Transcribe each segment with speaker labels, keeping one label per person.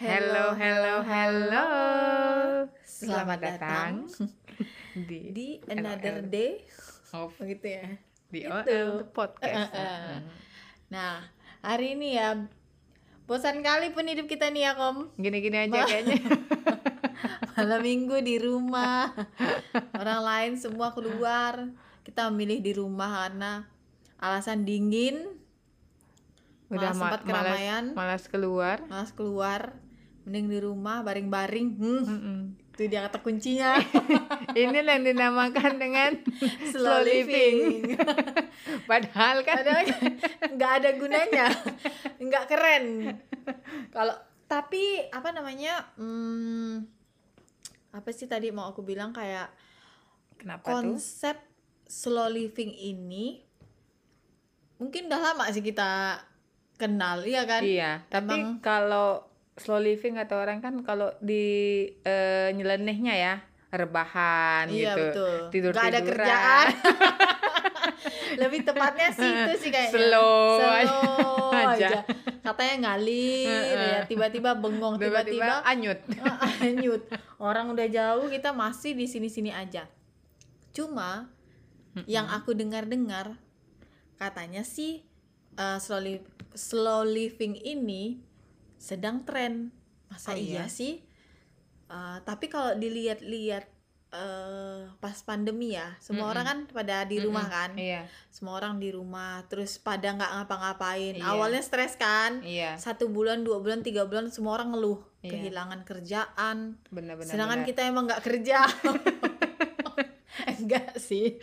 Speaker 1: Hello, hello, hello.
Speaker 2: Selamat datang
Speaker 1: di,
Speaker 2: di another
Speaker 1: LOL.
Speaker 2: day
Speaker 1: of
Speaker 2: begitu ya.
Speaker 1: di
Speaker 2: Gitu.
Speaker 1: OL podcast.
Speaker 2: Eh, eh, eh. Nah, hari ini ya bosan kali pun hidup kita nih ya, Kom.
Speaker 1: Gini-gini aja
Speaker 2: Ma-
Speaker 1: kayaknya.
Speaker 2: Malam Minggu di rumah. Orang lain semua keluar, kita memilih di rumah karena alasan dingin,
Speaker 1: Udah
Speaker 2: Malas
Speaker 1: ma-
Speaker 2: tempat keramaian.
Speaker 1: malas, malas keluar.
Speaker 2: malas keluar, mending di rumah baring-baring. Hmm,
Speaker 1: Mm-mm.
Speaker 2: itu dia kata kuncinya.
Speaker 1: Ini yang dinamakan dengan Slow living. padahal kan
Speaker 2: Padahal nggak ada gunanya, nggak keren. Kalau tapi apa namanya? hmm, apa sih tadi mau aku bilang kayak
Speaker 1: kenapa tuh?
Speaker 2: konsep slow living ini mungkin udah lama sih kita kenal, iya kan?
Speaker 1: Iya, tapi
Speaker 2: emang-
Speaker 1: kalau slow living kata orang kan kalau di eh, nyelenehnya ya rebahan
Speaker 2: Iya,
Speaker 1: gitu.
Speaker 2: betul.
Speaker 1: Tidur-tiduran.
Speaker 2: Nggak ada kerjaan. Lebih tepatnya sih itu sih kayaknya.
Speaker 1: Slow aja.
Speaker 2: Slow
Speaker 1: Aja.
Speaker 2: aja. Katanya ngalir
Speaker 1: Heeh.
Speaker 2: ya, tiba-tiba bengong, tiba-tiba
Speaker 1: Tiba-tiba anyut.
Speaker 2: Anyut. Orang udah jauh kita masih di sini-sini aja. Cuma yang aku dengar-dengar katanya sih uh, slow, li- slow living ini sedang tren. Masa
Speaker 1: Oh,
Speaker 2: iya
Speaker 1: iya?
Speaker 2: sih? Uh, tapi kalau dilihat-lihat eh pas pandemi ya, semua
Speaker 1: Mm-mm.
Speaker 2: orang kan pada di rumah
Speaker 1: Mm-mm.
Speaker 2: kan,
Speaker 1: Iya,
Speaker 2: semua orang di rumah, terus pada nggak ngapa-ngapain.
Speaker 1: Iya.
Speaker 2: Awalnya stres kan,
Speaker 1: iya,
Speaker 2: satu bulan, dua bulan, tiga bulan semua orang ngeluh
Speaker 1: Iya.
Speaker 2: kehilangan kerjaan.
Speaker 1: benar-benar.
Speaker 2: Sedangkan
Speaker 1: benar.
Speaker 2: kita emang nggak kerja. Enggak sih.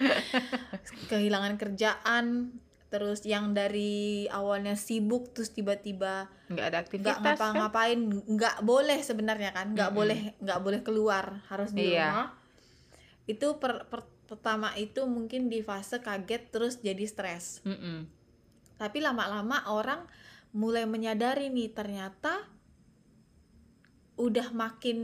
Speaker 2: kehilangan kerjaan terus yang dari awalnya sibuk terus tiba-tiba
Speaker 1: nggak ada
Speaker 2: nggak
Speaker 1: aktivitas kan?
Speaker 2: ngapa-ngapain nggak boleh sebenarnya kan nggak
Speaker 1: Mm-mm.
Speaker 2: boleh nggak boleh keluar harus di
Speaker 1: Iya.
Speaker 2: rumah itu per- per- pertama itu mungkin di fase kaget terus jadi stres
Speaker 1: Mm-mm.
Speaker 2: tapi lama-lama orang mulai menyadari nih ternyata udah makin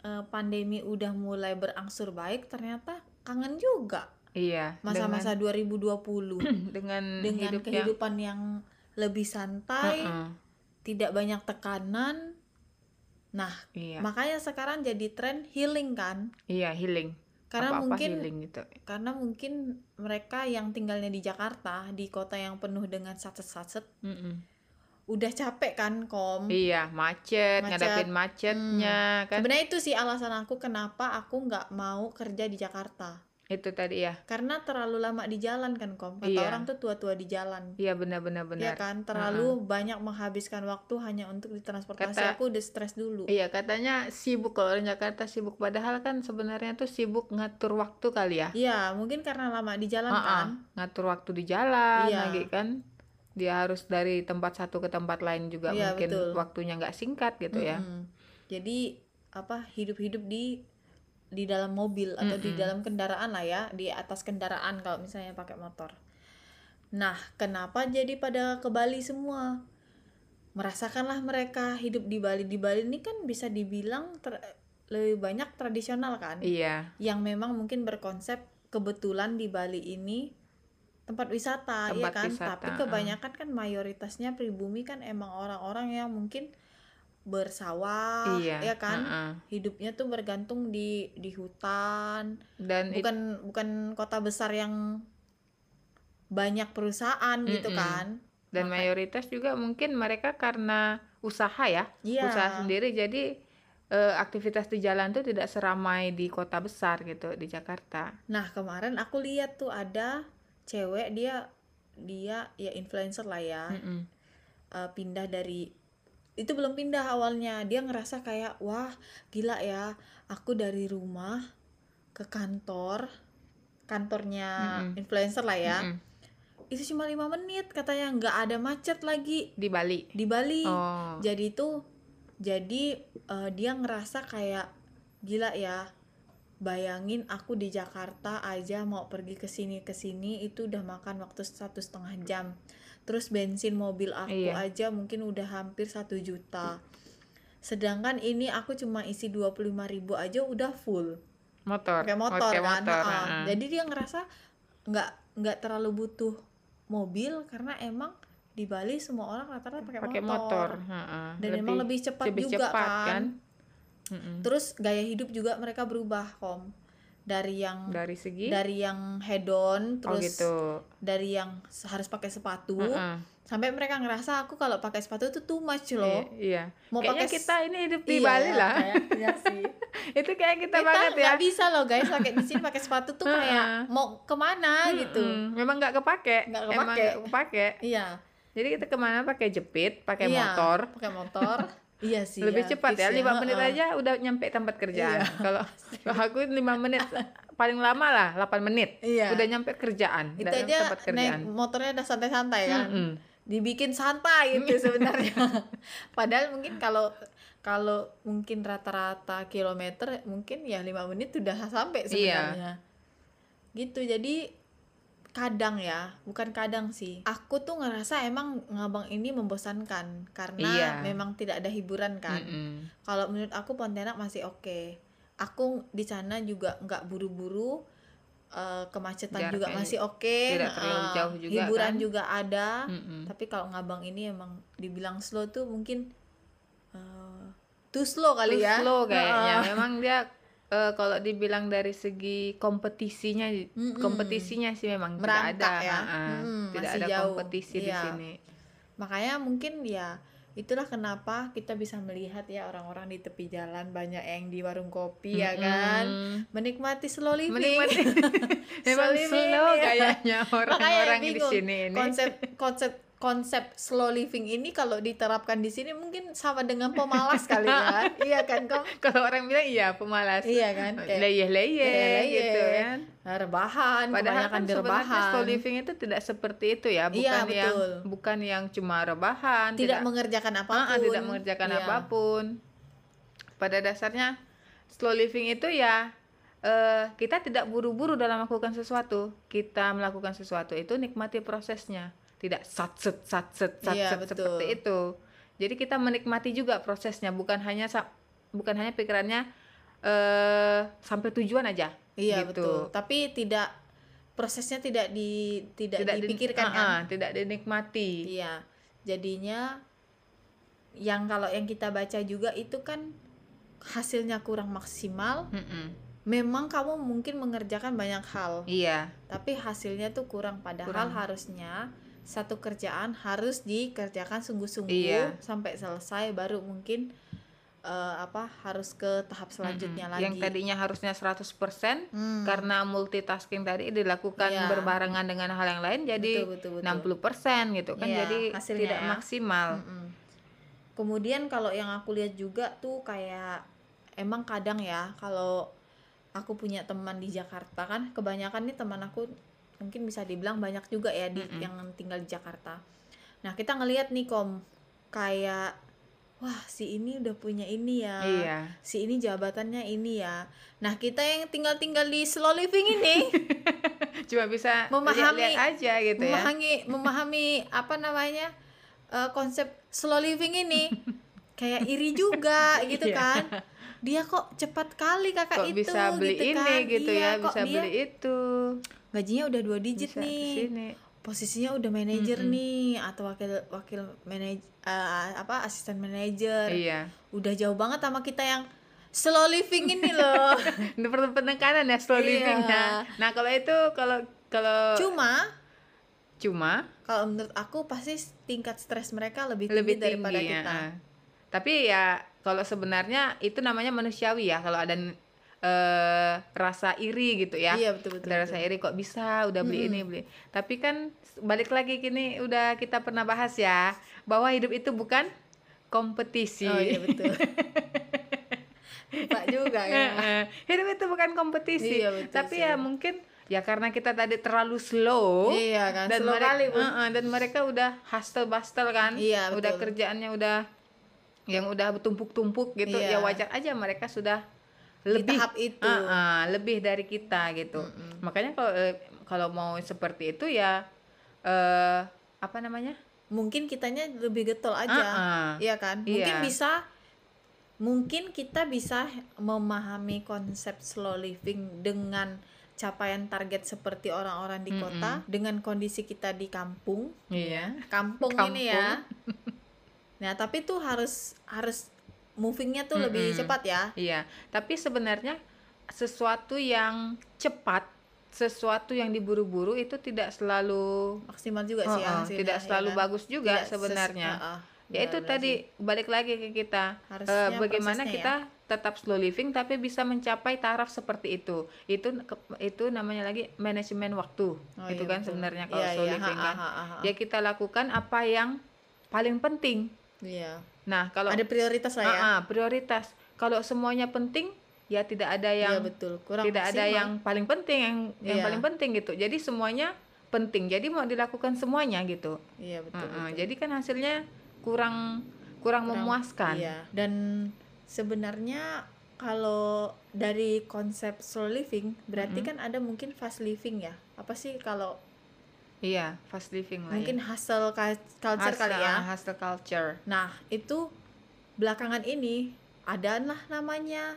Speaker 2: eh, pandemi udah mulai berangsur baik ternyata kangen juga
Speaker 1: Iya.
Speaker 2: masa-masa 2020
Speaker 1: dengan, dengan,
Speaker 2: dengan
Speaker 1: hidup yang-
Speaker 2: kehidupan yang lebih santai,
Speaker 1: Heeh,
Speaker 2: tidak banyak tekanan.
Speaker 1: Iya.
Speaker 2: Makanya sekarang jadi tren healing kan?
Speaker 1: Iya, healing.
Speaker 2: Karena
Speaker 1: Apa-apa
Speaker 2: mungkin
Speaker 1: healing gitu.
Speaker 2: karena mungkin mereka yang tinggalnya di Jakarta, di kota yang penuh dengan satset-satset,
Speaker 1: Mm-mm.
Speaker 2: udah capek kan, Kom?
Speaker 1: Iya, macet,
Speaker 2: Macet. Hmm.
Speaker 1: ngadapin macetnya kan.
Speaker 2: Sebenarnya itu sih alasan aku kenapa aku nggak mau kerja di Jakarta.
Speaker 1: Itu tadi ya.
Speaker 2: Karena terlalu lama di jalan kan, Kom. Kata
Speaker 1: Iya.
Speaker 2: orang tuh tua-tua di jalan.
Speaker 1: Iya, benar-benar
Speaker 2: Iya
Speaker 1: benar.
Speaker 2: kan? Terlalu banyak menghabiskan waktu hanya untuk di transportasi.
Speaker 1: Kata-
Speaker 2: Aku udah stres dulu.
Speaker 1: Iya, katanya sibuk kalau orang Jakarta sibuk padahal kan sebenarnya tuh sibuk ngatur waktu kali ya.
Speaker 2: Iya, mungkin karena lama di jalan
Speaker 1: Heeh,
Speaker 2: kan.
Speaker 1: Ngatur waktu di jalan
Speaker 2: Iya.
Speaker 1: lagi kan. Dia harus dari tempat satu ke tempat lain juga
Speaker 2: Iya,
Speaker 1: mungkin
Speaker 2: betul.
Speaker 1: waktunya nggak singkat gitu ya.
Speaker 2: Mm-mm. Jadi apa hidup-hidup di di dalam mobil atau di
Speaker 1: Mm-mm.
Speaker 2: dalam kendaraan lah ya, di atas kendaraan kalau misalnya pakai motor. Nah, kenapa jadi pada ke Bali semua? Merasakanlah mereka hidup di Bali. Di Bali ini kan bisa dibilang ter- lebih banyak tradisional kan,
Speaker 1: Iya.
Speaker 2: yang memang mungkin berkonsep kebetulan di Bali ini tempat wisata ya
Speaker 1: Tempat
Speaker 2: kan
Speaker 1: wisata,
Speaker 2: tapi
Speaker 1: ah.
Speaker 2: kebanyakan kan mayoritasnya pribumi kan emang orang-orang yang mungkin bersawah
Speaker 1: iya.
Speaker 2: ya kan
Speaker 1: heeh.
Speaker 2: hidupnya tuh bergantung di di hutan
Speaker 1: Dan itu
Speaker 2: bukan bukan kota besar yang banyak perusahaan gitu
Speaker 1: Mm-mm.
Speaker 2: kan
Speaker 1: dan
Speaker 2: Maka-
Speaker 1: mayoritas juga mungkin mereka karena usaha ya
Speaker 2: iya
Speaker 1: usaha sendiri jadi eh, aktivitas di jalan tuh tidak seramai di kota besar gitu di Jakarta
Speaker 2: Nah, kemarin aku lihat tuh ada cewek dia dia ya influencer lah ya,
Speaker 1: Mm-mm.
Speaker 2: eh, pindah dari itu belum pindah awalnya. Dia ngerasa kayak wah, gila ya. Aku dari rumah ke kantor kantornya
Speaker 1: Mm-mm.
Speaker 2: influencer lah ya.
Speaker 1: Mm-mm.
Speaker 2: Itu cuma lima menit katanya nggak ada macet lagi
Speaker 1: di Bali
Speaker 2: di Bali.
Speaker 1: oh
Speaker 2: Jadi itu jadi eh, dia ngerasa kayak gila ya. Bayangin aku di Jakarta aja mau pergi ke sini ke sini itu udah makan waktu satu setengah jam. Terus bensin mobil aku
Speaker 1: Iya.
Speaker 2: aja mungkin udah hampir satu juta. Sedangkan ini aku cuma isi 25.000 ribu aja udah full.
Speaker 1: motor
Speaker 2: pakai motor
Speaker 1: Pakai
Speaker 2: kan
Speaker 1: motor,
Speaker 2: ha-ha.
Speaker 1: ha-ha.
Speaker 2: jadi dia ngerasa nggak nggak terlalu butuh mobil karena emang di Bali semua orang rata-rata pakai
Speaker 1: pakai
Speaker 2: motor.
Speaker 1: motor, ha-ha.
Speaker 2: dan emang lebih cepat
Speaker 1: lebih
Speaker 2: juga
Speaker 1: cepat,
Speaker 2: kan.
Speaker 1: kan? Mm-mm.
Speaker 2: terus gaya hidup juga mereka berubah kom dari yang
Speaker 1: dari segi
Speaker 2: dari yang hedon
Speaker 1: oh
Speaker 2: terus
Speaker 1: gitu
Speaker 2: dari yang harus pakai sepatu
Speaker 1: Ha-ha.
Speaker 2: sampai mereka ngerasa aku kalau pakai sepatu itu too much
Speaker 1: I-
Speaker 2: loh
Speaker 1: iya
Speaker 2: mau
Speaker 1: kayaknya
Speaker 2: pakai
Speaker 1: kita ini hidup
Speaker 2: s-
Speaker 1: di
Speaker 2: iya,
Speaker 1: Bali lah
Speaker 2: kayaknya sih
Speaker 1: itu kayak kita,
Speaker 2: kita
Speaker 1: banget ya
Speaker 2: nggak bisa loh guys pakai di sini pakai sepatu tuh kayak mau kemana gitu
Speaker 1: Mm-mm. memang nggak kepake
Speaker 2: Nggak
Speaker 1: emang
Speaker 2: kepake.
Speaker 1: nggak kepake
Speaker 2: iya
Speaker 1: jadi kita kemana pakai jepit pakai
Speaker 2: Iya,
Speaker 1: motor
Speaker 2: pakai motor iya sih
Speaker 1: lebih cepat
Speaker 2: tipsnya,
Speaker 1: ya lima menit
Speaker 2: heeh.
Speaker 1: aja udah nyampe tempat
Speaker 2: Iya.
Speaker 1: kerjaan kalau kalau aku lima menit paling lama lah 8 menit
Speaker 2: iya
Speaker 1: udah nyampe kerjaan
Speaker 2: itu
Speaker 1: udah nyampe
Speaker 2: aja
Speaker 1: tempat kerjaan
Speaker 2: naik motornya udah santai-santai kan
Speaker 1: Mm-mm.
Speaker 2: dibikin santai itu sebenarnya padahal mungkin kalau kalau mungkin rata-rata kilometer mungkin ya lima menit udah
Speaker 1: Iya.
Speaker 2: sampai sebenarnya gitu jadi kadang ya bukan kadang sih aku tuh ngerasa emang ngabang ini membosankan karena
Speaker 1: Iya.
Speaker 2: memang tidak ada hiburan kan
Speaker 1: Mm-mm.
Speaker 2: kalau menurut aku Pontianak masih oke aku di sana juga nggak buru-buru eh, kemacetan
Speaker 1: Jaraknya
Speaker 2: juga masih oke
Speaker 1: tidak terlalu
Speaker 2: Nah,
Speaker 1: jauh juga,
Speaker 2: hiburan
Speaker 1: kan?
Speaker 2: juga ada
Speaker 1: Mm-mm.
Speaker 2: tapi kalau ngabang ini emang dibilang slow tuh mungkin eh, too slow kali
Speaker 1: Too
Speaker 2: ya
Speaker 1: slow kayaknya
Speaker 2: Heeh.
Speaker 1: memang dia eh, kalau dibilang dari segi kompetisinya
Speaker 2: Mm-mm.
Speaker 1: kompetisinya sih memang
Speaker 2: Mm. Merangkak
Speaker 1: tidak ada
Speaker 2: ya.
Speaker 1: ha-ha.
Speaker 2: Mm,
Speaker 1: tidak
Speaker 2: masih
Speaker 1: ada
Speaker 2: jauh.
Speaker 1: kompetisi di
Speaker 2: Iya.
Speaker 1: sini
Speaker 2: makanya mungkin ya itulah kenapa kita bisa melihat ya orang-orang di tepi jalan banyak yang di warung kopi ya kan
Speaker 1: Mm-mm.
Speaker 2: menikmati slow living
Speaker 1: menikmati
Speaker 2: Slow
Speaker 1: memang
Speaker 2: living,
Speaker 1: slow
Speaker 2: ya.
Speaker 1: kayaknya orang-orang di
Speaker 2: bingung.
Speaker 1: sini ini
Speaker 2: konsep konsep konsep slow living ini kalau diterapkan di sini mungkin sama dengan pemalas kali ya iya kan kok
Speaker 1: kalau orang bilang iya pemalas
Speaker 2: iya kan kayak
Speaker 1: leyeh leyeh
Speaker 2: Leyeh-leyeh.
Speaker 1: gitu kan
Speaker 2: nah, rebahan
Speaker 1: padahal
Speaker 2: kebanyakan
Speaker 1: kan
Speaker 2: di
Speaker 1: sebenarnya
Speaker 2: rebahan
Speaker 1: slow living itu tidak seperti itu ya bukan
Speaker 2: Iya,
Speaker 1: yang
Speaker 2: betul.
Speaker 1: bukan yang cuma rebahan
Speaker 2: tidak mengerjakan apapun
Speaker 1: Ah, tidak mengerjakan
Speaker 2: Iya.
Speaker 1: apapun pada dasarnya slow living itu ya eh, kita tidak buru-buru dalam melakukan sesuatu kita melakukan sesuatu itu nikmati prosesnya tidak satset satset
Speaker 2: Iya,
Speaker 1: satset
Speaker 2: betul.
Speaker 1: seperti itu jadi kita menikmati juga prosesnya bukan hanya sa- bukan hanya pikirannya eh sampai tujuan aja
Speaker 2: iya
Speaker 1: gitu.
Speaker 2: betul tapi tidak prosesnya tidak di tidak,
Speaker 1: di-
Speaker 2: dipikirkan
Speaker 1: Ah,
Speaker 2: kan
Speaker 1: ah, tidak dinikmati
Speaker 2: Iya, jadinya yang kalau yang kita baca juga itu kan hasilnya kurang maksimal.
Speaker 1: Mm-mm.
Speaker 2: Memang kamu mungkin mengerjakan banyak hal,
Speaker 1: iya
Speaker 2: tapi hasilnya tuh kurang. Padahal
Speaker 1: Kurang.
Speaker 2: harusnya satu kerjaan harus dikerjakan sungguh-sungguh
Speaker 1: Iya.
Speaker 2: sampai selesai baru mungkin eh, apa harus ke tahap selanjutnya
Speaker 1: Mm-mm.
Speaker 2: lagi.
Speaker 1: yang tadinya harusnya 100%
Speaker 2: Hmm,
Speaker 1: karena multitasking tadi dilakukan
Speaker 2: Iya.
Speaker 1: berbarengan dengan hal yang lain jadi
Speaker 2: betul, betul, betul.
Speaker 1: 60% gitu kan
Speaker 2: Iya,
Speaker 1: jadi
Speaker 2: hasilnya
Speaker 1: tidak
Speaker 2: ya.
Speaker 1: maksimal.
Speaker 2: Mm-mm. Kemudian kalau yang aku lihat juga tuh kayak emang kadang ya kalau aku punya teman di Jakarta kan kebanyakan nih teman aku mungkin bisa dibilang banyak juga ya di
Speaker 1: Mm-mm.
Speaker 2: yang tinggal di Jakarta. Nah, kita ngelihat nih Kom kayak wah si ini udah punya ini ya.
Speaker 1: Iya.
Speaker 2: Si ini jabatannya ini ya. Nah, kita yang tinggal-tinggal di slow living ini
Speaker 1: Cuma bisa
Speaker 2: Memahami-
Speaker 1: lihat aja gitu ya.
Speaker 2: memahami memahami apa namanya eh, konsep slow living ini kayak iri juga gitu
Speaker 1: Iya.
Speaker 2: kan dia kok cepat kali kakak
Speaker 1: Kok
Speaker 2: itu
Speaker 1: bisa beli
Speaker 2: gitu
Speaker 1: ini
Speaker 2: kan
Speaker 1: gitu
Speaker 2: Iya,
Speaker 1: ya,
Speaker 2: kok
Speaker 1: bisa
Speaker 2: dia
Speaker 1: beli itu.
Speaker 2: gajinya udah dua digit
Speaker 1: Bisa
Speaker 2: nih
Speaker 1: di sini.
Speaker 2: posisinya udah manajer
Speaker 1: Mm-mm.
Speaker 2: nih atau wakil wakil manajer apa asisten manajer
Speaker 1: Iya.
Speaker 2: udah jauh banget sama kita yang slow living ini loh
Speaker 1: Ini perlu penekanan ya slow
Speaker 2: Iya.
Speaker 1: living-nya. Nah, kalau itu kalau kalau
Speaker 2: cuma
Speaker 1: cuma
Speaker 2: kalau menurut aku pasti tingkat stres mereka lebih tinggi,
Speaker 1: lebih tinggi
Speaker 2: daripada
Speaker 1: ya,
Speaker 2: kita
Speaker 1: ah. Tapi ya kalau sebenarnya itu namanya manusiawi ya kalau ada eh, rasa iri gitu ya.
Speaker 2: iya betul betul,
Speaker 1: Ada
Speaker 2: betul.
Speaker 1: rasa iri kok bisa udah beli
Speaker 2: Hmm.
Speaker 1: ini beli. Tapi kan balik lagi kini udah kita pernah bahas ya bahwa hidup itu bukan kompetisi.
Speaker 2: Oh iya betul. Pak juga ya.
Speaker 1: Heeh. hidup itu bukan kompetisi.
Speaker 2: Iya, betul
Speaker 1: Tapi
Speaker 2: sih.
Speaker 1: ya mungkin ya karena kita tadi terlalu slow
Speaker 2: Iya kan.
Speaker 1: dan
Speaker 2: slow
Speaker 1: mereka
Speaker 2: kali Bu.
Speaker 1: Heeh, dan mereka udah hustle bustle kan
Speaker 2: Iya, betul.
Speaker 1: udah kerjaannya udah yang udah bertumpuk-tumpuk gitu
Speaker 2: Iya.
Speaker 1: ya wajar aja mereka sudah
Speaker 2: Di
Speaker 1: lebih
Speaker 2: tahap itu.
Speaker 1: Heeh, lebih dari kita gitu makanya kalau eh, kalau mau seperti itu ya eh apa namanya Ah,
Speaker 2: Mungkin kitanya lebih getol aja.
Speaker 1: Heeh.
Speaker 2: Iya kan. Mungkin
Speaker 1: Iya.
Speaker 2: bisa mungkin kita bisa memahami konsep slow living dengan capaian target seperti orang-orang di
Speaker 1: Mm-mm.
Speaker 2: kota dengan kondisi kita di kampung
Speaker 1: Iya.
Speaker 2: kampung,
Speaker 1: Kampung.
Speaker 2: ini ya nah tapi tuh harus harus movingnya tuh lebih
Speaker 1: Mm-mm.
Speaker 2: cepat ya
Speaker 1: Iya, tapi sebenarnya sesuatu yang cepat, sesuatu yang diburu-buru itu tidak selalu
Speaker 2: maksimal juga sih
Speaker 1: Oh,
Speaker 2: ya
Speaker 1: oh,
Speaker 2: hasilnya,
Speaker 1: tidak
Speaker 2: ya
Speaker 1: selalu
Speaker 2: kan?
Speaker 1: bagus juga
Speaker 2: Tidak ses-
Speaker 1: sebenarnya.
Speaker 2: Heeh,
Speaker 1: ya itu
Speaker 2: benar-benar
Speaker 1: tadi
Speaker 2: sih.
Speaker 1: balik lagi ke kita Eh,
Speaker 2: Harusnya
Speaker 1: bagaimana
Speaker 2: prosesnya ya?
Speaker 1: kita tetap slow living tapi bisa mencapai taraf seperti itu. Itu ke- itu namanya lagi manajemen waktu.
Speaker 2: Oh,
Speaker 1: itu
Speaker 2: iya,
Speaker 1: kan
Speaker 2: betul.
Speaker 1: sebenarnya kalau
Speaker 2: Iya,
Speaker 1: slow
Speaker 2: iya,
Speaker 1: living
Speaker 2: ha,
Speaker 1: kan.
Speaker 2: ha, ha, ha.
Speaker 1: Ya kita lakukan apa yang paling penting.
Speaker 2: Iya.
Speaker 1: Nah, kalau
Speaker 2: ada prioritas lah ya
Speaker 1: Ah, ah, prioritas. Kalau semuanya penting ya tidak ada
Speaker 2: Iya,
Speaker 1: yang
Speaker 2: betul kurang
Speaker 1: tidak ada
Speaker 2: maksimal.
Speaker 1: yang paling penting yang yang
Speaker 2: Iya.
Speaker 1: paling penting gitu jadi semuanya penting jadi mau dilakukan semuanya gitu
Speaker 2: iya betul,
Speaker 1: Heeh,
Speaker 2: betul.
Speaker 1: jadi kan hasilnya kurang kurang, memuaskan
Speaker 2: Iya. Dan sebenarnya kalau dari konsep slow living berarti
Speaker 1: Mm-mm.
Speaker 2: kan ada mungkin fast living ya. Apa sih kalau
Speaker 1: Iya, fast living lah
Speaker 2: mungkin
Speaker 1: ya.
Speaker 2: hustle cul- culture
Speaker 1: Hustle,
Speaker 2: kali ya.
Speaker 1: ah, hustle culture
Speaker 2: Nah, itu belakangan ini ada lah namanya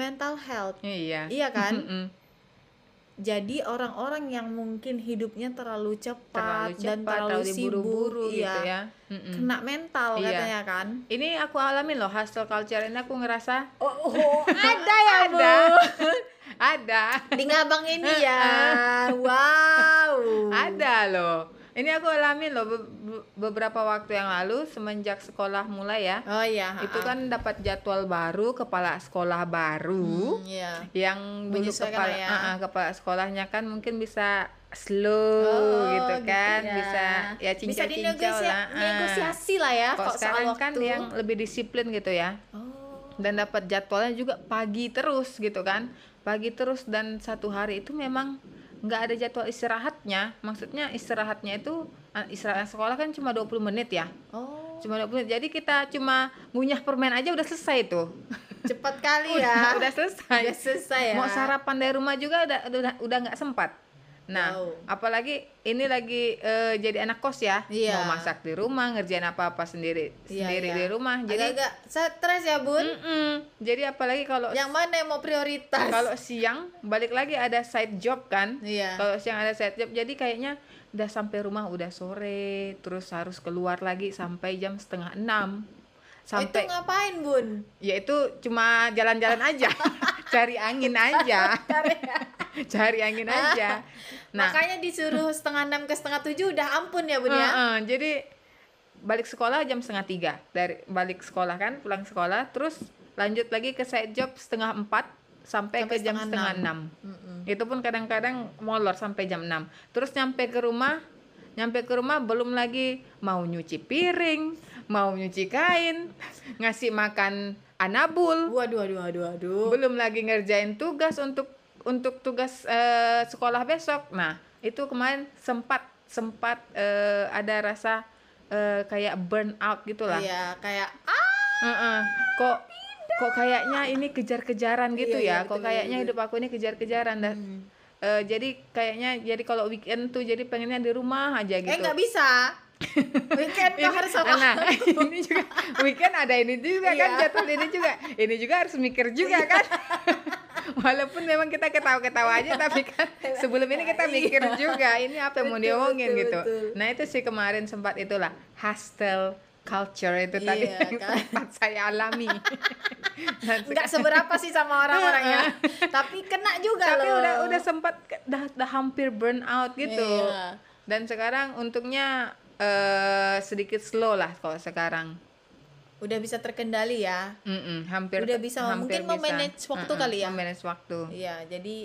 Speaker 2: mental health.
Speaker 1: iya
Speaker 2: Iya kan?
Speaker 1: Mm-mm.
Speaker 2: Jadi orang-orang yang mungkin hidupnya terlalu
Speaker 1: terlalu
Speaker 2: cepat,
Speaker 1: cepat
Speaker 2: dan terlalu sibuk,
Speaker 1: buru-buru
Speaker 2: iya,
Speaker 1: gitu ya Mm-mm.
Speaker 2: kena mental
Speaker 1: Iya.
Speaker 2: katanya kan.
Speaker 1: ini aku alamin loh hustle culture ini aku ngerasa
Speaker 2: Oh, ada ya,
Speaker 1: ada ada
Speaker 2: di ngabang ini ya wow
Speaker 1: ada loh ini aku alamin loh be- be- beberapa waktu yang lalu semenjak sekolah mulai ya
Speaker 2: oh iya
Speaker 1: itu kan dapat jadwal baru kepala sekolah baru
Speaker 2: Hmm, iya
Speaker 1: yang dulu
Speaker 2: Menyesuaikan
Speaker 1: kepala
Speaker 2: lah ya.
Speaker 1: Ah, ah, kepala sekolahnya kan mungkin bisa slow
Speaker 2: Oh,
Speaker 1: gitu kan
Speaker 2: ya.
Speaker 1: bisa ya
Speaker 2: bisa
Speaker 1: cincau-cincau
Speaker 2: dinegosiasi
Speaker 1: lah ah.
Speaker 2: negosiasi lah ya
Speaker 1: kok
Speaker 2: kok soal
Speaker 1: sekarang
Speaker 2: waktu
Speaker 1: kan yang lebih disiplin gitu ya
Speaker 2: oh
Speaker 1: dan dapat jadwalnya juga pagi terus gitu kan pagi terus dan satu hari itu memang nggak ada jadwal istirahatnya maksudnya istirahatnya itu ah, istirahat sekolah kan cuma 20 menit ya
Speaker 2: oh
Speaker 1: cuma 20 menit jadi kita cuma ngunyah permen aja udah selesai tuh
Speaker 2: cepat kali ya
Speaker 1: udah, udah selesai
Speaker 2: Udah selesai ya
Speaker 1: mau sarapan dari rumah juga udah udah udah nggak sempat nah
Speaker 2: Wow.
Speaker 1: apalagi ini lagi eh, jadi anak kos ya
Speaker 2: Iya.
Speaker 1: mau masak di rumah ngerjain apa apa sendiri
Speaker 2: Iya,
Speaker 1: sendiri
Speaker 2: iya.
Speaker 1: di rumah
Speaker 2: jadi
Speaker 1: jadi
Speaker 2: agak stres ya bun
Speaker 1: Mm-mm. jadi apalagi kalau
Speaker 2: yang mana yang mau prioritas
Speaker 1: Nah, kalau siang balik lagi ada side job kan
Speaker 2: iya
Speaker 1: kalau siang ada side job jadi kayaknya udah sampai rumah udah sore terus harus keluar lagi sampai jam setengah enam
Speaker 2: Oh, itu
Speaker 1: sampai
Speaker 2: ngapain bun
Speaker 1: ya itu cuma jalan-jalan aja cari angin aja cari angin aja nah
Speaker 2: makanya disuruh setengah enam ke setengah tujuh udah ampun ya bun ya
Speaker 1: eh, eh, jadi balik sekolah jam setengah tiga dari balik sekolah kan pulang sekolah terus lanjut lagi ke side job setengah empat sampai,
Speaker 2: Sampai
Speaker 1: ke jam
Speaker 2: setengah
Speaker 1: setengah enam
Speaker 2: Mm-mm.
Speaker 1: itu pun kadang-kadang molor sampai jam 6 terus nyampe ke rumah nyampe ke rumah belum lagi mau nyuci piring mau nyuci kain ngasih makan anabul
Speaker 2: waduh waduh waduh waduh
Speaker 1: belum lagi ngerjain tugas untuk untuk tugas eh, sekolah besok nah itu kemarin sempat sempat eh, ada rasa eh, kayak burn out gitu gitulah
Speaker 2: iya kayak
Speaker 1: Heeh. kok kok kayaknya ini kejar-kejaran gitu
Speaker 2: Iya, iya,
Speaker 1: ya kok
Speaker 2: betul, Hmm.
Speaker 1: kayaknya
Speaker 2: iya,
Speaker 1: hidup aku ini kejar-kejaran dan eh, jadi kayaknya jadi kalau weekend tuh jadi pengennya di rumah aja gitu
Speaker 2: Eh nggak bisa. Weekend kau harus sama.
Speaker 1: nah, ini juga weekend ada ini juga kan
Speaker 2: Iya.
Speaker 1: jadwal ini juga ini juga harus mikir juga kan walaupun memang kita ketawa-ketawa
Speaker 2: Iya.
Speaker 1: aja tapi kan sebelum ini kita mikir juga ini apa yang mau
Speaker 2: Betul,
Speaker 1: diomongin
Speaker 2: betul,
Speaker 1: gitu
Speaker 2: betul.
Speaker 1: nah itu sih kemarin sempat itulah hostel culture itu tadi
Speaker 2: Iya,
Speaker 1: yang
Speaker 2: kan.
Speaker 1: sempat saya alami Dan
Speaker 2: Nggak seberapa sih sama orang-orangnya. Tapi kena juga
Speaker 1: tapi
Speaker 2: loh.
Speaker 1: udah udah sempat ke- dah, dah hampir burn out gitu
Speaker 2: Iya.
Speaker 1: dan sekarang untungnya eh, sedikit slow lah kalau sekarang
Speaker 2: Udah bisa terkendali ya.
Speaker 1: Mm-mm, hampir
Speaker 2: Udah bisa,
Speaker 1: hampir
Speaker 2: mungkin memanage waktu kali ya?
Speaker 1: memanage waktu
Speaker 2: Iya, jadi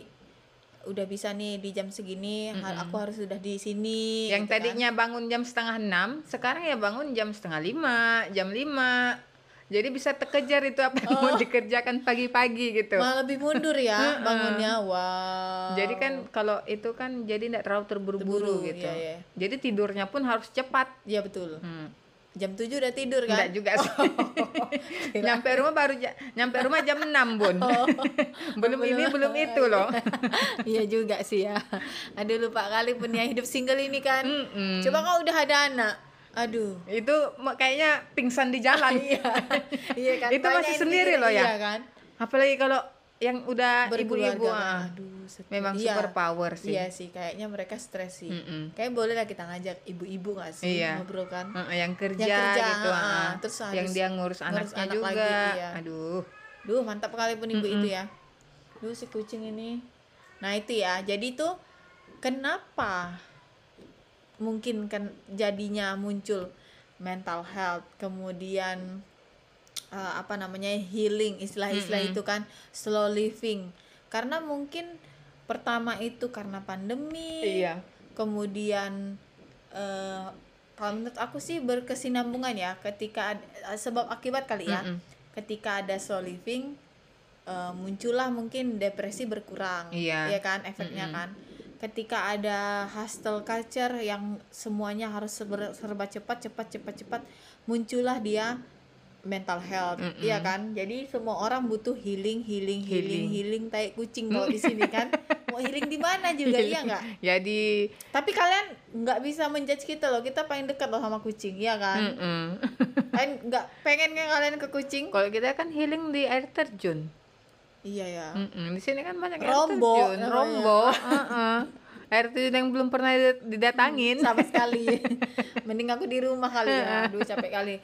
Speaker 2: udah bisa nih di jam segini har- aku harus sudah di sini.
Speaker 1: yang
Speaker 2: gitu kan.
Speaker 1: tadinya bangun jam setengah enam sekarang ya bangun jam setengah lima jam lima jadi bisa terkejar itu apa
Speaker 2: Oh.
Speaker 1: yang mau dikerjakan pagi-pagi gitu
Speaker 2: malah lebih mundur ya bangunnya. Wow.
Speaker 1: jadi kan kalau itu kan jadi tidak terlalu terburu-buru
Speaker 2: Terburu,
Speaker 1: gitu
Speaker 2: iya, iya.
Speaker 1: jadi tidurnya pun harus cepat
Speaker 2: Iya betul.
Speaker 1: Hmm.
Speaker 2: Jam 7 udah tidur
Speaker 1: Enggak
Speaker 2: kan?
Speaker 1: juga sih. nyampe rumah baru ja- nyampe rumah jam 6, Bun.
Speaker 2: Oh.
Speaker 1: belum ini belum itu loh.
Speaker 2: Iya juga sih ya. Aduh lupa kali punya hidup single ini kan.
Speaker 1: Mm-mm.
Speaker 2: Coba kau udah ada anak. Aduh.
Speaker 1: Itu me- kayaknya pingsan di jalan.
Speaker 2: Iya. iya kan.
Speaker 1: Itu masih
Speaker 2: banyak
Speaker 1: sendiri
Speaker 2: yang
Speaker 1: loh ya?
Speaker 2: Iya kan.
Speaker 1: Apalagi kalau yang udah ibu-ibu.
Speaker 2: Berkeluarga.
Speaker 1: ah.
Speaker 2: Aduh, sedih.
Speaker 1: Memang
Speaker 2: Iya.
Speaker 1: super power sih.
Speaker 2: Iya sih, kayaknya mereka stres sih.
Speaker 1: Mm-mm.
Speaker 2: Kayak boleh lah kita ngajak ibu-ibu gak sih
Speaker 1: Iya.
Speaker 2: ngobrol kan?
Speaker 1: Heeh, yang kerja,
Speaker 2: kerja,
Speaker 1: gitu,
Speaker 2: ah,
Speaker 1: ah.
Speaker 2: terus
Speaker 1: yang
Speaker 2: harus
Speaker 1: dia ngurus,
Speaker 2: ngurus
Speaker 1: anaknya
Speaker 2: anak
Speaker 1: juga.
Speaker 2: lagi, iya.
Speaker 1: Aduh.
Speaker 2: Duh, mantap kali pun ibu itu ya. Duh, si kucing ini. Nah, itu ya. Jadi itu kenapa mungkin kan jadinya muncul mental health, kemudian eh, apa namanya healing, istilah-istilah itu kan slow living. Karena mungkin pertama itu karena pandemi.
Speaker 1: Iya.
Speaker 2: Kemudian eh, kalau menurut aku sih berkesinambungan ya ketika ad- sebab akibat kali ya
Speaker 1: Mm-mm.
Speaker 2: ketika ada slow living eh, muncullah mungkin depresi berkurang
Speaker 1: Iya.
Speaker 2: ya kan efeknya kan ketika ada hustle culture yang semuanya harus serba, serba cepat cepat cepat cepat muncullah dia mental health
Speaker 1: Mm-mm.
Speaker 2: iya kan jadi semua orang butuh healing healing healing healing
Speaker 1: Healing.
Speaker 2: tai kucing kalau di sini kan mau healing di mana juga iya nggak
Speaker 1: Jadi
Speaker 2: tapi kalian nggak bisa menjudge kita loh kita paling dekat loh sama kucing ya kan
Speaker 1: mm-mm.
Speaker 2: kalian nggak pengen kan kalian ke kucing
Speaker 1: kalau kita kan healing di air terjun.
Speaker 2: iya ya
Speaker 1: Mm-mm, Di sini kan banyak
Speaker 2: Rombo ya.
Speaker 1: air terjun,
Speaker 2: namanya.
Speaker 1: rombo. heeh. Air terjun yang belum pernah did- didatangin.
Speaker 2: sama sekali mending aku di rumah kali ya aduh capek kali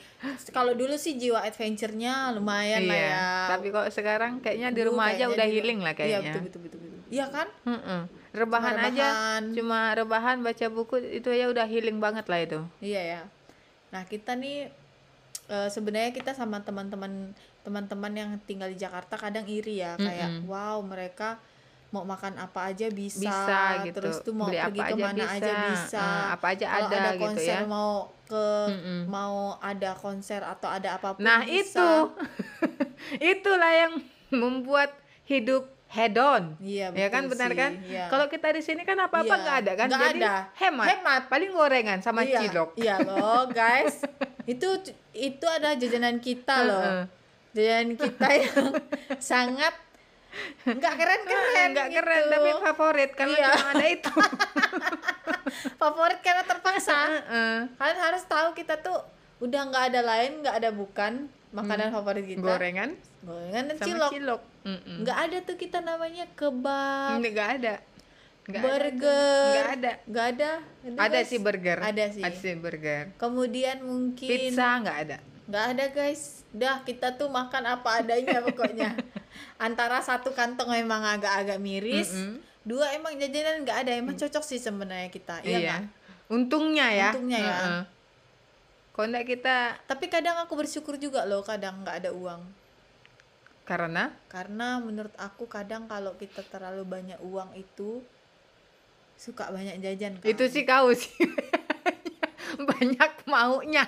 Speaker 2: kalau dulu sih jiwa adventure-nya lumayan lah
Speaker 1: Iya.
Speaker 2: ya
Speaker 1: Tapi kalau sekarang kayaknya di
Speaker 2: Dulu
Speaker 1: rumah aja
Speaker 2: kayaknya
Speaker 1: udah
Speaker 2: di-
Speaker 1: healing lah
Speaker 2: iya
Speaker 1: kayaknya.
Speaker 2: betul betul betul betul iya kan
Speaker 1: Mm-mm. Rebahan,
Speaker 2: Cuma
Speaker 1: aja,
Speaker 2: rebahan.
Speaker 1: cuma rebahan baca buku itu ya udah healing banget lah itu.
Speaker 2: iya ya nah kita nih eh, sebenarnya kita sama teman-teman teman-teman yang tinggal di Jakarta kadang iri ya kayak
Speaker 1: Mm-mm.
Speaker 2: wow mereka mau makan apa aja bisa,
Speaker 1: Bisa gitu.
Speaker 2: terus tuh mau
Speaker 1: Beli
Speaker 2: pergi
Speaker 1: apa aja
Speaker 2: kemana aja
Speaker 1: bisa.
Speaker 2: bisa,
Speaker 1: Ah, apa aja
Speaker 2: Kalau
Speaker 1: ada gitu
Speaker 2: konser
Speaker 1: ya.
Speaker 2: mau ke
Speaker 1: Mm-mm.
Speaker 2: mau ada konser atau ada apapun
Speaker 1: Hmm. Nah
Speaker 2: bisa.
Speaker 1: itu, itulah yang membuat hidup hedon.
Speaker 2: Iya
Speaker 1: Ya
Speaker 2: betul
Speaker 1: kan benar
Speaker 2: sih,
Speaker 1: kan?
Speaker 2: iya.
Speaker 1: Kalau kita di sini kan apa-apa
Speaker 2: Iya,
Speaker 1: nggak ada kan?
Speaker 2: nggak
Speaker 1: Jadi
Speaker 2: ada.
Speaker 1: hemat.
Speaker 2: Hemat.
Speaker 1: Paling gorengan sama
Speaker 2: iya,
Speaker 1: cilok.
Speaker 2: Iya loh guys. itu itu adalah jajanan kita loh.
Speaker 1: Heeh.
Speaker 2: Jajanan kita yang sangat nggak keren-keren.
Speaker 1: Ah, Nggak
Speaker 2: gitu.
Speaker 1: keren tapi favorit karena
Speaker 2: Iya.
Speaker 1: cuma ada itu.
Speaker 2: favorit karena terpaksa.
Speaker 1: Heeh.
Speaker 2: Kalian harus tahu kita tuh udah nggak ada lain, nggak ada bukan makanan favorit kita.
Speaker 1: Gorengan
Speaker 2: Gorengan dan
Speaker 1: Hmm. sama
Speaker 2: cilok.
Speaker 1: cilok. Hmm. Mm-mm.
Speaker 2: Nggak ada tuh kita namanya kebab,
Speaker 1: Nggak ada. Nggak ada.
Speaker 2: burger.
Speaker 1: Nggak ada.
Speaker 2: Nggak ada. Aduh,
Speaker 1: Ada
Speaker 2: guys.
Speaker 1: sih burger.
Speaker 2: Ada sih.
Speaker 1: Ada sih burger.
Speaker 2: Kemudian mungkin
Speaker 1: Pizza nggak ada.
Speaker 2: nggak ada guys dah kita tuh makan apa adanya pokoknya antara satu kantong emang agak-agak miris
Speaker 1: Mm-mm. Mm.
Speaker 2: dua emang jajanan nggak ada emang cocok sih sebenarnya kita iya nggak?
Speaker 1: Untungnya ya.
Speaker 2: Untungnya ya.
Speaker 1: Heeh. Kalau nggak kita
Speaker 2: tapi kadang aku bersyukur juga loh kadang nggak ada uang
Speaker 1: karena
Speaker 2: karena menurut aku kadang kalau kita terlalu banyak uang itu suka banyak jajan kan?
Speaker 1: Itu sih kau sih. banyak maunya.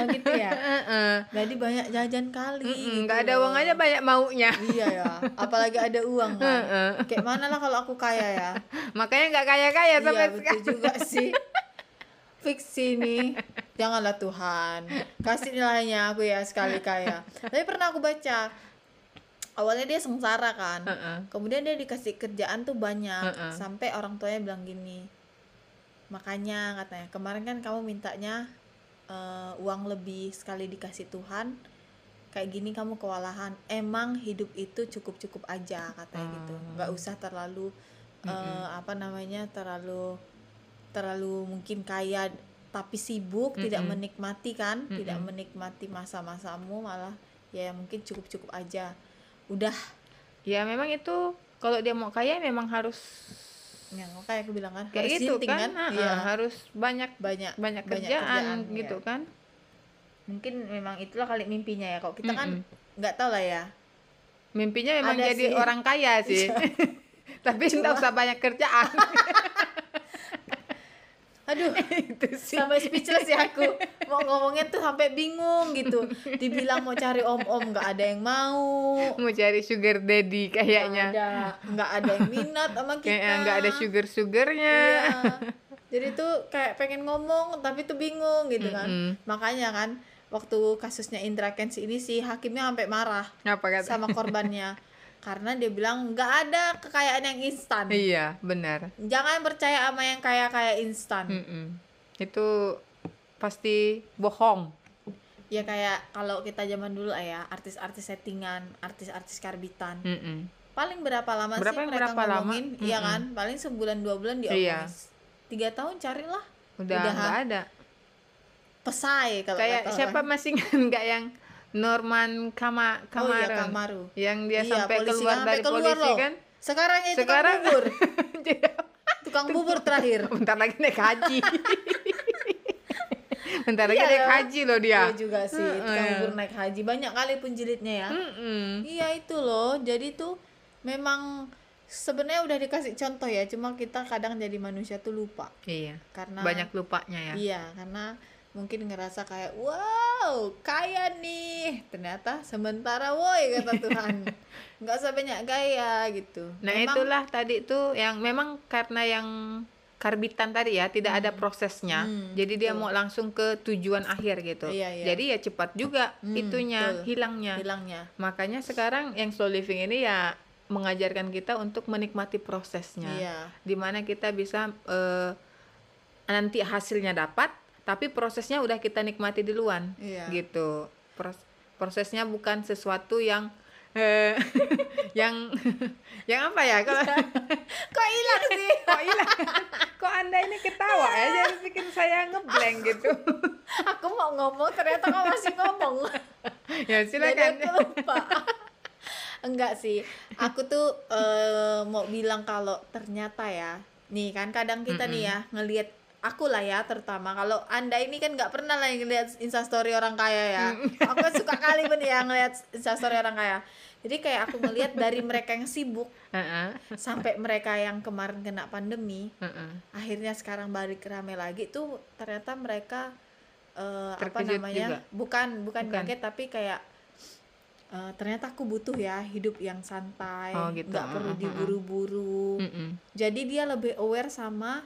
Speaker 2: oh, gitu ya
Speaker 1: Heeh.
Speaker 2: jadi banyak jajan kali
Speaker 1: Mm-mm,
Speaker 2: gitu
Speaker 1: Nggak ada
Speaker 2: loh.
Speaker 1: uang aja banyak maunya.
Speaker 2: iya ya apalagi ada uang kan
Speaker 1: Heeh.
Speaker 2: kayak mana lah kalau aku kaya ya
Speaker 1: Makanya nggak kaya-kaya ya, sampai
Speaker 2: iya betul
Speaker 1: sekarang.
Speaker 2: juga sih fix ini janganlah Tuhan kasih nilainya aku ya sekali kaya tapi pernah aku baca awalnya dia sengsara kan
Speaker 1: Heeh.
Speaker 2: kemudian dia dikasih kerjaan tuh banyak
Speaker 1: Heeh.
Speaker 2: sampai orang tuanya bilang gini makanya katanya kemarin kan kamu mintanya eh, uang lebih sekali dikasih Tuhan kayak gini kamu kewalahan emang hidup itu cukup cukup aja katanya gitu
Speaker 1: Hmm.
Speaker 2: nggak usah terlalu eh, apa namanya terlalu terlalu mungkin kaya tapi sibuk tidak
Speaker 1: Mm-mm.
Speaker 2: menikmati kan tidak
Speaker 1: Mm-mm.
Speaker 2: menikmati masa-masamu malah ya mungkin cukup cukup aja udah
Speaker 1: Ya memang itu kalau dia mau kaya memang harus
Speaker 2: yang kayak aku bilang kan
Speaker 1: kayak
Speaker 2: harus
Speaker 1: gitu
Speaker 2: sinting
Speaker 1: kan. Heeh,
Speaker 2: Iya,
Speaker 1: Harus banyak
Speaker 2: banyak
Speaker 1: banyak kerjaan,
Speaker 2: kerjaan,
Speaker 1: gitu
Speaker 2: iya.
Speaker 1: kan.
Speaker 2: mungkin memang itulah kali mimpinya ya kok kita kan
Speaker 1: Mm-mm.
Speaker 2: nggak tahu lah ya
Speaker 1: Mimpinya memang
Speaker 2: Ada
Speaker 1: jadi
Speaker 2: sih. Iya.
Speaker 1: orang kaya sih. Tapi nggak usah banyak kerjaan.
Speaker 2: aduh
Speaker 1: itu sih.
Speaker 2: sampai speechless ya aku mau ngomongnya tuh sampai bingung gitu dibilang mau cari om om nggak ada yang mau
Speaker 1: Mau cari sugar daddy
Speaker 2: nggak
Speaker 1: kayaknya.
Speaker 2: ada nggak ada yang minat sama kita
Speaker 1: Kayaknya nggak ada sugar-sugarnya.
Speaker 2: Iya. Jadi tuh kayak pengen ngomong tapi tuh bingung gitu kan.
Speaker 1: Mm-mm.
Speaker 2: Makanya kan waktu kasusnya Indra Kents ini sih hakimnya sampai marah
Speaker 1: Apa kata?
Speaker 2: Iya. sama korbannya karena dia bilang nggak ada kekayaan yang instan.
Speaker 1: Iya, benar. Hmm.
Speaker 2: Jangan percaya sama yang kaya-kaya instan.
Speaker 1: Mm-mm. itu pasti bohong
Speaker 2: ya kayak kalau kita zaman dulu ah ya artis-artis settingan artis-artis karbitan
Speaker 1: Mm-mm.
Speaker 2: paling berapa lama
Speaker 1: Hmm. Berapa
Speaker 2: sih
Speaker 1: yang
Speaker 2: mereka
Speaker 1: berapa lama?
Speaker 2: ngomongin iya
Speaker 1: Mm-mm.
Speaker 2: kan paling sebulan dua bulan diomongin
Speaker 1: Iya.
Speaker 2: tiga tahun carilah
Speaker 1: udah
Speaker 2: Udah,
Speaker 1: nggak ada
Speaker 2: pesai kalau
Speaker 1: kayak
Speaker 2: kata orang.
Speaker 1: siapa masih ingat nggak yang Norman
Speaker 2: oh
Speaker 1: Kama
Speaker 2: iya
Speaker 1: Kamaron
Speaker 2: Kamaru
Speaker 1: yang dia
Speaker 2: Iya,
Speaker 1: sampai
Speaker 2: polisi,
Speaker 1: keluar
Speaker 2: sampai
Speaker 1: dari
Speaker 2: keluar
Speaker 1: polisi
Speaker 2: loh.
Speaker 1: kan
Speaker 2: sekarang ya
Speaker 1: Sekarang-
Speaker 2: tukang bubur tukang bubur terakhir
Speaker 1: bentar lagi naik haji bentar lagi
Speaker 2: Iya,
Speaker 1: naik
Speaker 2: loh.
Speaker 1: haji loh dia
Speaker 2: Iya juga sih
Speaker 1: Heeh.
Speaker 2: tukang bubur naik haji banyak kali penjilitnya ya
Speaker 1: Mm-mm.
Speaker 2: iya itu loh jadi tuh memang sebenarnya udah dikasih contoh ya cuma kita kadang jadi manusia tuh lupa
Speaker 1: iya
Speaker 2: karena
Speaker 1: banyak lupanya ya
Speaker 2: Iya, karena mungkin ngerasa kayak wow kaya nih ternyata sementara woi kata Tuhan nggak usah banyak gaya gitu
Speaker 1: nah
Speaker 2: Memang
Speaker 1: itulah tadi tuh yang memang karena yang karbitan tadi ya tidak ada prosesnya
Speaker 2: Hmm,
Speaker 1: jadi dia
Speaker 2: betul.
Speaker 1: mau langsung ke tujuan akhir gitu
Speaker 2: Iya, iya.
Speaker 1: jadi ya cepat juga
Speaker 2: Hmm,
Speaker 1: itunya
Speaker 2: betul.
Speaker 1: hilangnya
Speaker 2: bilangnya
Speaker 1: makanya sekarang yang slow living ini ya mengajarkan kita untuk menikmati prosesnya
Speaker 2: iya
Speaker 1: dimana kita bisa eh, nanti hasilnya dapat tapi prosesnya udah kita nikmati duluan
Speaker 2: iya
Speaker 1: gitu Pros- prosesnya bukan sesuatu yang eh, yang yang apa ya kalau
Speaker 2: kok hilang sih
Speaker 1: kok hilang kok anda ini ketawa ya jadi bikin saya ngeblank gitu
Speaker 2: aku mau ngomong ternyata kau masih ngomong
Speaker 1: ya
Speaker 2: Jadi aku
Speaker 1: silakan
Speaker 2: lupa enggak sih aku tuh eh, mau bilang kalau ternyata ya nih kan kadang kita nih ya ngelihat aku lah ya terutama kalau anda ini kan nggak pernah lah ngelihat instastory orang kaya ya aku suka kali bener ya ngelihat instastory orang kaya jadi kayak aku ngelihat dari mereka yang sibuk
Speaker 1: Heeh,
Speaker 2: sampai mereka yang kemarin kena pandemi
Speaker 1: heeh.
Speaker 2: akhirnya sekarang balik rame lagi tuh ternyata mereka eh, apa
Speaker 1: Terkejut juga.
Speaker 2: namanya bukan bukan
Speaker 1: Bukan.
Speaker 2: kaget tapi kayak eh, ternyata aku butuh ya hidup yang santai
Speaker 1: Oh,
Speaker 2: nggak
Speaker 1: gitu.
Speaker 2: perlu
Speaker 1: Mm, mm, mm.
Speaker 2: diburu-buru
Speaker 1: Mm-mm,
Speaker 2: jadi dia lebih aware sama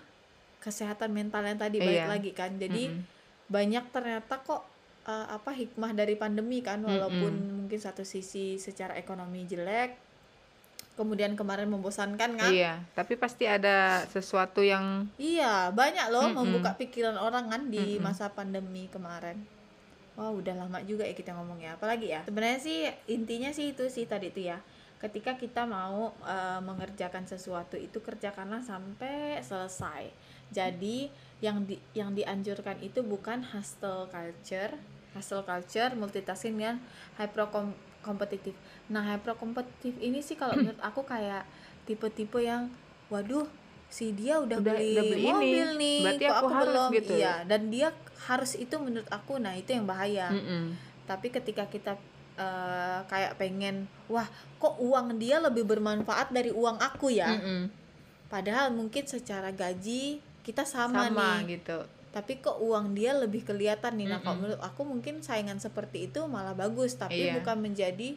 Speaker 2: kesehatan mental yang tadi balik
Speaker 1: Iya.
Speaker 2: lagi kan jadi
Speaker 1: mm-mm.
Speaker 2: banyak ternyata kok eh, apa hikmah dari pandemi kan walaupun mungkin satu sisi secara ekonomi jelek kemudian kemarin membosankan kan
Speaker 1: iya tapi pasti ada sesuatu yang
Speaker 2: Iya, banyak loh
Speaker 1: Mm-mm.
Speaker 2: membuka pikiran orang kan di
Speaker 1: Mm-mm.
Speaker 2: masa pandemi kemarin. Wah, udah lama juga ya kita ngomong ya. Apalagi ya. Sebenarnya sih intinya sih itu sih tadi itu ya. Ketika kita mau eh, mengerjakan sesuatu itu kerjakanlah sampai selesai. Jadi yang di, yang dianjurkan itu bukan hustle culture, hustle culture multitasking dengan hyper kom- kompetitif. Nah, hyper kompetitif ini sih kalau menurut aku kayak tipe-tipe yang waduh si dia udah,
Speaker 1: Udah-
Speaker 2: beli,
Speaker 1: udah beli ini,
Speaker 2: mobil nih
Speaker 1: berarti
Speaker 2: kok
Speaker 1: aku harus gitu.
Speaker 2: iya dan dia harus itu menurut aku nah itu yang bahaya
Speaker 1: Mm-mm.
Speaker 2: tapi ketika kita eh, kayak pengen wah kok uang dia lebih bermanfaat dari uang aku ya
Speaker 1: Mm-mm.
Speaker 2: padahal mungkin secara gaji kita sama,
Speaker 1: sama,
Speaker 2: nih
Speaker 1: gitu
Speaker 2: tapi kok uang dia lebih kelihatan nih nah
Speaker 1: Mm-mm.
Speaker 2: kalau menurut aku mungkin saingan seperti itu malah bagus tapi
Speaker 1: Iya.
Speaker 2: bukan menjadi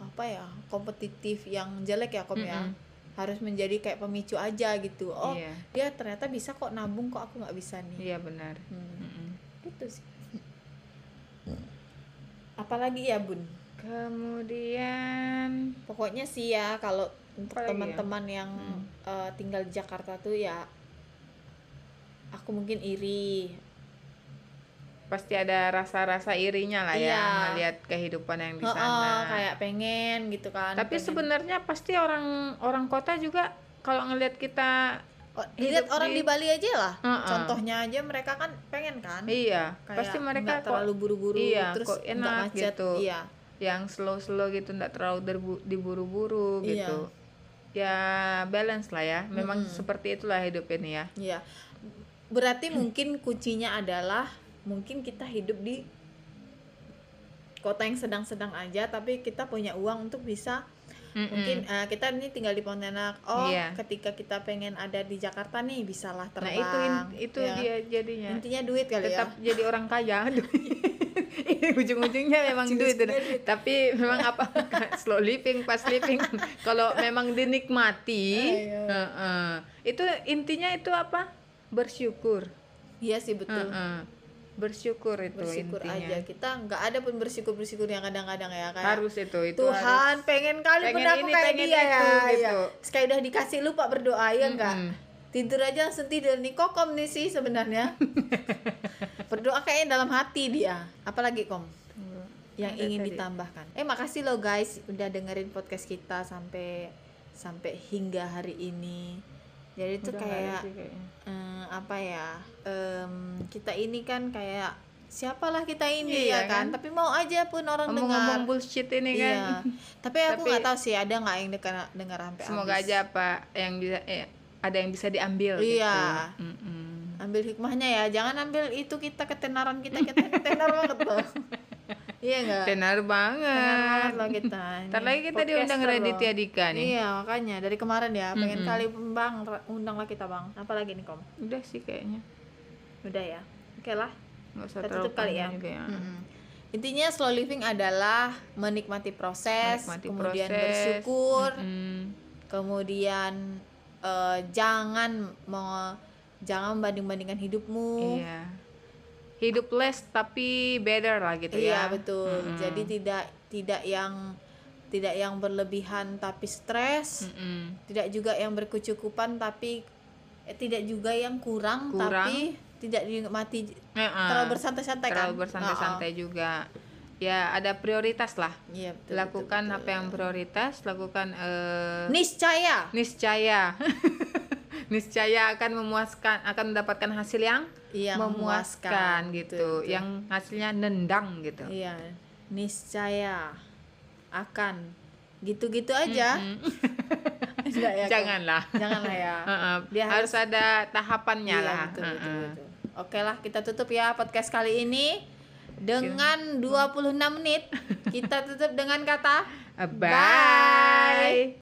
Speaker 2: apa ya kompetitif yang jelek ya kom ya
Speaker 1: Mm-mm.
Speaker 2: harus menjadi kayak pemicu aja gitu oh
Speaker 1: iya
Speaker 2: dia ternyata bisa kok nabung kok aku nggak bisa nih
Speaker 1: iya benar
Speaker 2: Hmm,
Speaker 1: Mm-mm.
Speaker 2: gitu sih apalagi ya bun
Speaker 1: Kemudian
Speaker 2: pokoknya sih ya kalau untuk
Speaker 1: Apalagi ya?
Speaker 2: teman-teman yang
Speaker 1: Hmm.
Speaker 2: eh, tinggal di Jakarta tuh ya aku mungkin iri
Speaker 1: pasti ada rasa-rasa irinya lah
Speaker 2: Iya.
Speaker 1: ya melihat kehidupan yang di
Speaker 2: Heeh,
Speaker 1: sana.
Speaker 2: kayak pengen gitu kan
Speaker 1: Tapi
Speaker 2: pengen.
Speaker 1: sebenarnya pasti orang orang kota juga kalau ngelihat kita
Speaker 2: Oh,
Speaker 1: hidup
Speaker 2: lihat orang di...
Speaker 1: di-
Speaker 2: Bali aja lah
Speaker 1: Heeh.
Speaker 2: contohnya aja mereka kan pengen kan
Speaker 1: iya,
Speaker 2: Kayak
Speaker 1: pasti mereka
Speaker 2: nggak
Speaker 1: kok
Speaker 2: terlalu buru-buru
Speaker 1: iya,
Speaker 2: terus
Speaker 1: kok
Speaker 2: nggak
Speaker 1: enak
Speaker 2: macet
Speaker 1: gitu.
Speaker 2: iya
Speaker 1: yang slow-slow gitu nggak terlalu derbu- diburu-buru
Speaker 2: Iya.
Speaker 1: gitu. Ya balance lah ya. Memang
Speaker 2: Mm-mm.
Speaker 1: seperti itulah hidup ini ya.
Speaker 2: Iya. Berarti mungkin kuncinya adalah mungkin kita hidup di kota yang sedang-sedang aja tapi kita punya uang untuk bisa
Speaker 1: Mm-mm.
Speaker 2: mungkin eh, kita ini tinggal di Pontianak. Oh,
Speaker 1: Iya.
Speaker 2: ketika kita pengen ada di Jakarta nih bisalah
Speaker 1: nah
Speaker 2: terbang.
Speaker 1: itu in- itu
Speaker 2: ya.
Speaker 1: dia jadinya.
Speaker 2: Intinya duit kali
Speaker 1: tetap
Speaker 2: ya.
Speaker 1: jadi orang kaya Aduh. ujung-ujungnya memang duit
Speaker 2: Ujung-ujungnya
Speaker 1: Dina. tapi memang apa slow living fast living kalau memang dinikmati
Speaker 2: Ayo.
Speaker 1: heeh. itu intinya itu apa bersyukur
Speaker 2: Iya sih betul.
Speaker 1: Heeh. bersyukur itu
Speaker 2: Bersyukur aja
Speaker 1: intinya
Speaker 2: kita nggak ada pun bersyukur-bersyukur yang kadang-kadang ya kayak
Speaker 1: harus itu itu harus.
Speaker 2: Tuhan pengen kali
Speaker 1: Pengen
Speaker 2: benda aku
Speaker 1: ini,
Speaker 2: kayak
Speaker 1: pengen
Speaker 2: dia
Speaker 1: itu,"
Speaker 2: ya.
Speaker 1: gitu.
Speaker 2: Iya. Terus Kayak udah dikasih lupa berdoa ya enggak?
Speaker 1: Mm-mm.
Speaker 2: tidur aja langsung tidur nih kokom nih sih sebenarnya berdoa kayaknya dalam hati dia apalagi kom yang
Speaker 1: Ada
Speaker 2: ingin
Speaker 1: Iya, tadi.
Speaker 2: ditambahkan eh makasih lo guys udah dengerin podcast kita sampai sampai hingga hari ini jadi itu
Speaker 1: Udah nggak ada
Speaker 2: kayak
Speaker 1: sih kayaknya.
Speaker 2: eh, apa ya em, kita ini kan kayak siapalah kita ini
Speaker 1: Iya
Speaker 2: ya kan?
Speaker 1: kan?
Speaker 2: tapi mau aja pun orang dengar
Speaker 1: ngomong-ngomong bullshit ini kan
Speaker 2: iya tapi aku
Speaker 1: Tapi-
Speaker 2: nggak tahu sih ada nggak yang dengar dengar sampai
Speaker 1: semoga
Speaker 2: habis.
Speaker 1: aja apa yang bisa eh, ada yang bisa diambil
Speaker 2: Iya.
Speaker 1: gitu Mm-mm.
Speaker 2: ambil hikmahnya ya jangan ambil itu kita ketenaran kita kita ketenar banget loh iya nggak
Speaker 1: tenar
Speaker 2: Tenar
Speaker 1: banget
Speaker 2: banget loh kita
Speaker 1: ntar
Speaker 2: ini
Speaker 1: lagi kita
Speaker 2: podcaster
Speaker 1: diundang
Speaker 2: loh.
Speaker 1: Raditya ya, Dika nih
Speaker 2: iya makanya dari kemarin ya pengen
Speaker 1: Mm-mm.
Speaker 2: kali bang ra- undanglah kita bang apalagi nih kom
Speaker 1: udah sih kayaknya
Speaker 2: udah ya oke lah
Speaker 1: nggak usah
Speaker 2: Kita
Speaker 1: terlalu
Speaker 2: tutup kali
Speaker 1: panjang
Speaker 2: ya.
Speaker 1: juga ya.
Speaker 2: Mm-mm. Intinya slow living adalah menikmati proses,
Speaker 1: Menikmati
Speaker 2: kemudian
Speaker 1: proses.
Speaker 2: bersyukur,
Speaker 1: Mm-mm.
Speaker 2: kemudian eh, jangan mau jangan banding-bandingkan hidupmu.
Speaker 1: iya hidup less tapi better lah gitu ya
Speaker 2: Iya, betul.
Speaker 1: Mm-mm.
Speaker 2: Jadi tidak tidak yang tidak yang berlebihan tapi stres,
Speaker 1: Mm-mm.
Speaker 2: tidak juga yang berkecukupan tapi eh, tidak juga yang kurang,
Speaker 1: Kurang.
Speaker 2: tapi tidak dinikmati
Speaker 1: Nuh-uh.
Speaker 2: terlalu bersantai-santai kan.
Speaker 1: Terlalu bersantai-santai juga ya ada prioritas lah
Speaker 2: Oh, oh. Iya, betul,
Speaker 1: lakukan
Speaker 2: betul,
Speaker 1: apa yang prioritas lakukan eh,
Speaker 2: betul. niscaya.
Speaker 1: niscaya niscaya akan memuaskan akan mendapatkan hasil yang
Speaker 2: Iya,
Speaker 1: memuaskan gitu
Speaker 2: betul, betul.
Speaker 1: yang hasilnya nendang gitu
Speaker 2: Iya, niscaya akan gitu-gitu aja.
Speaker 1: Mm-mm.
Speaker 2: Enggak ya, Kak?
Speaker 1: janganlah
Speaker 2: Janganlah ya.
Speaker 1: Heeh,
Speaker 2: Dia
Speaker 1: harus ada tahapannya
Speaker 2: Iya,
Speaker 1: lah
Speaker 2: betul,
Speaker 1: Heeh.
Speaker 2: betul, betul. Oke lah, kita tutup ya podcast kali ini dengan 26 menit. Kita tutup dengan kata
Speaker 1: bye.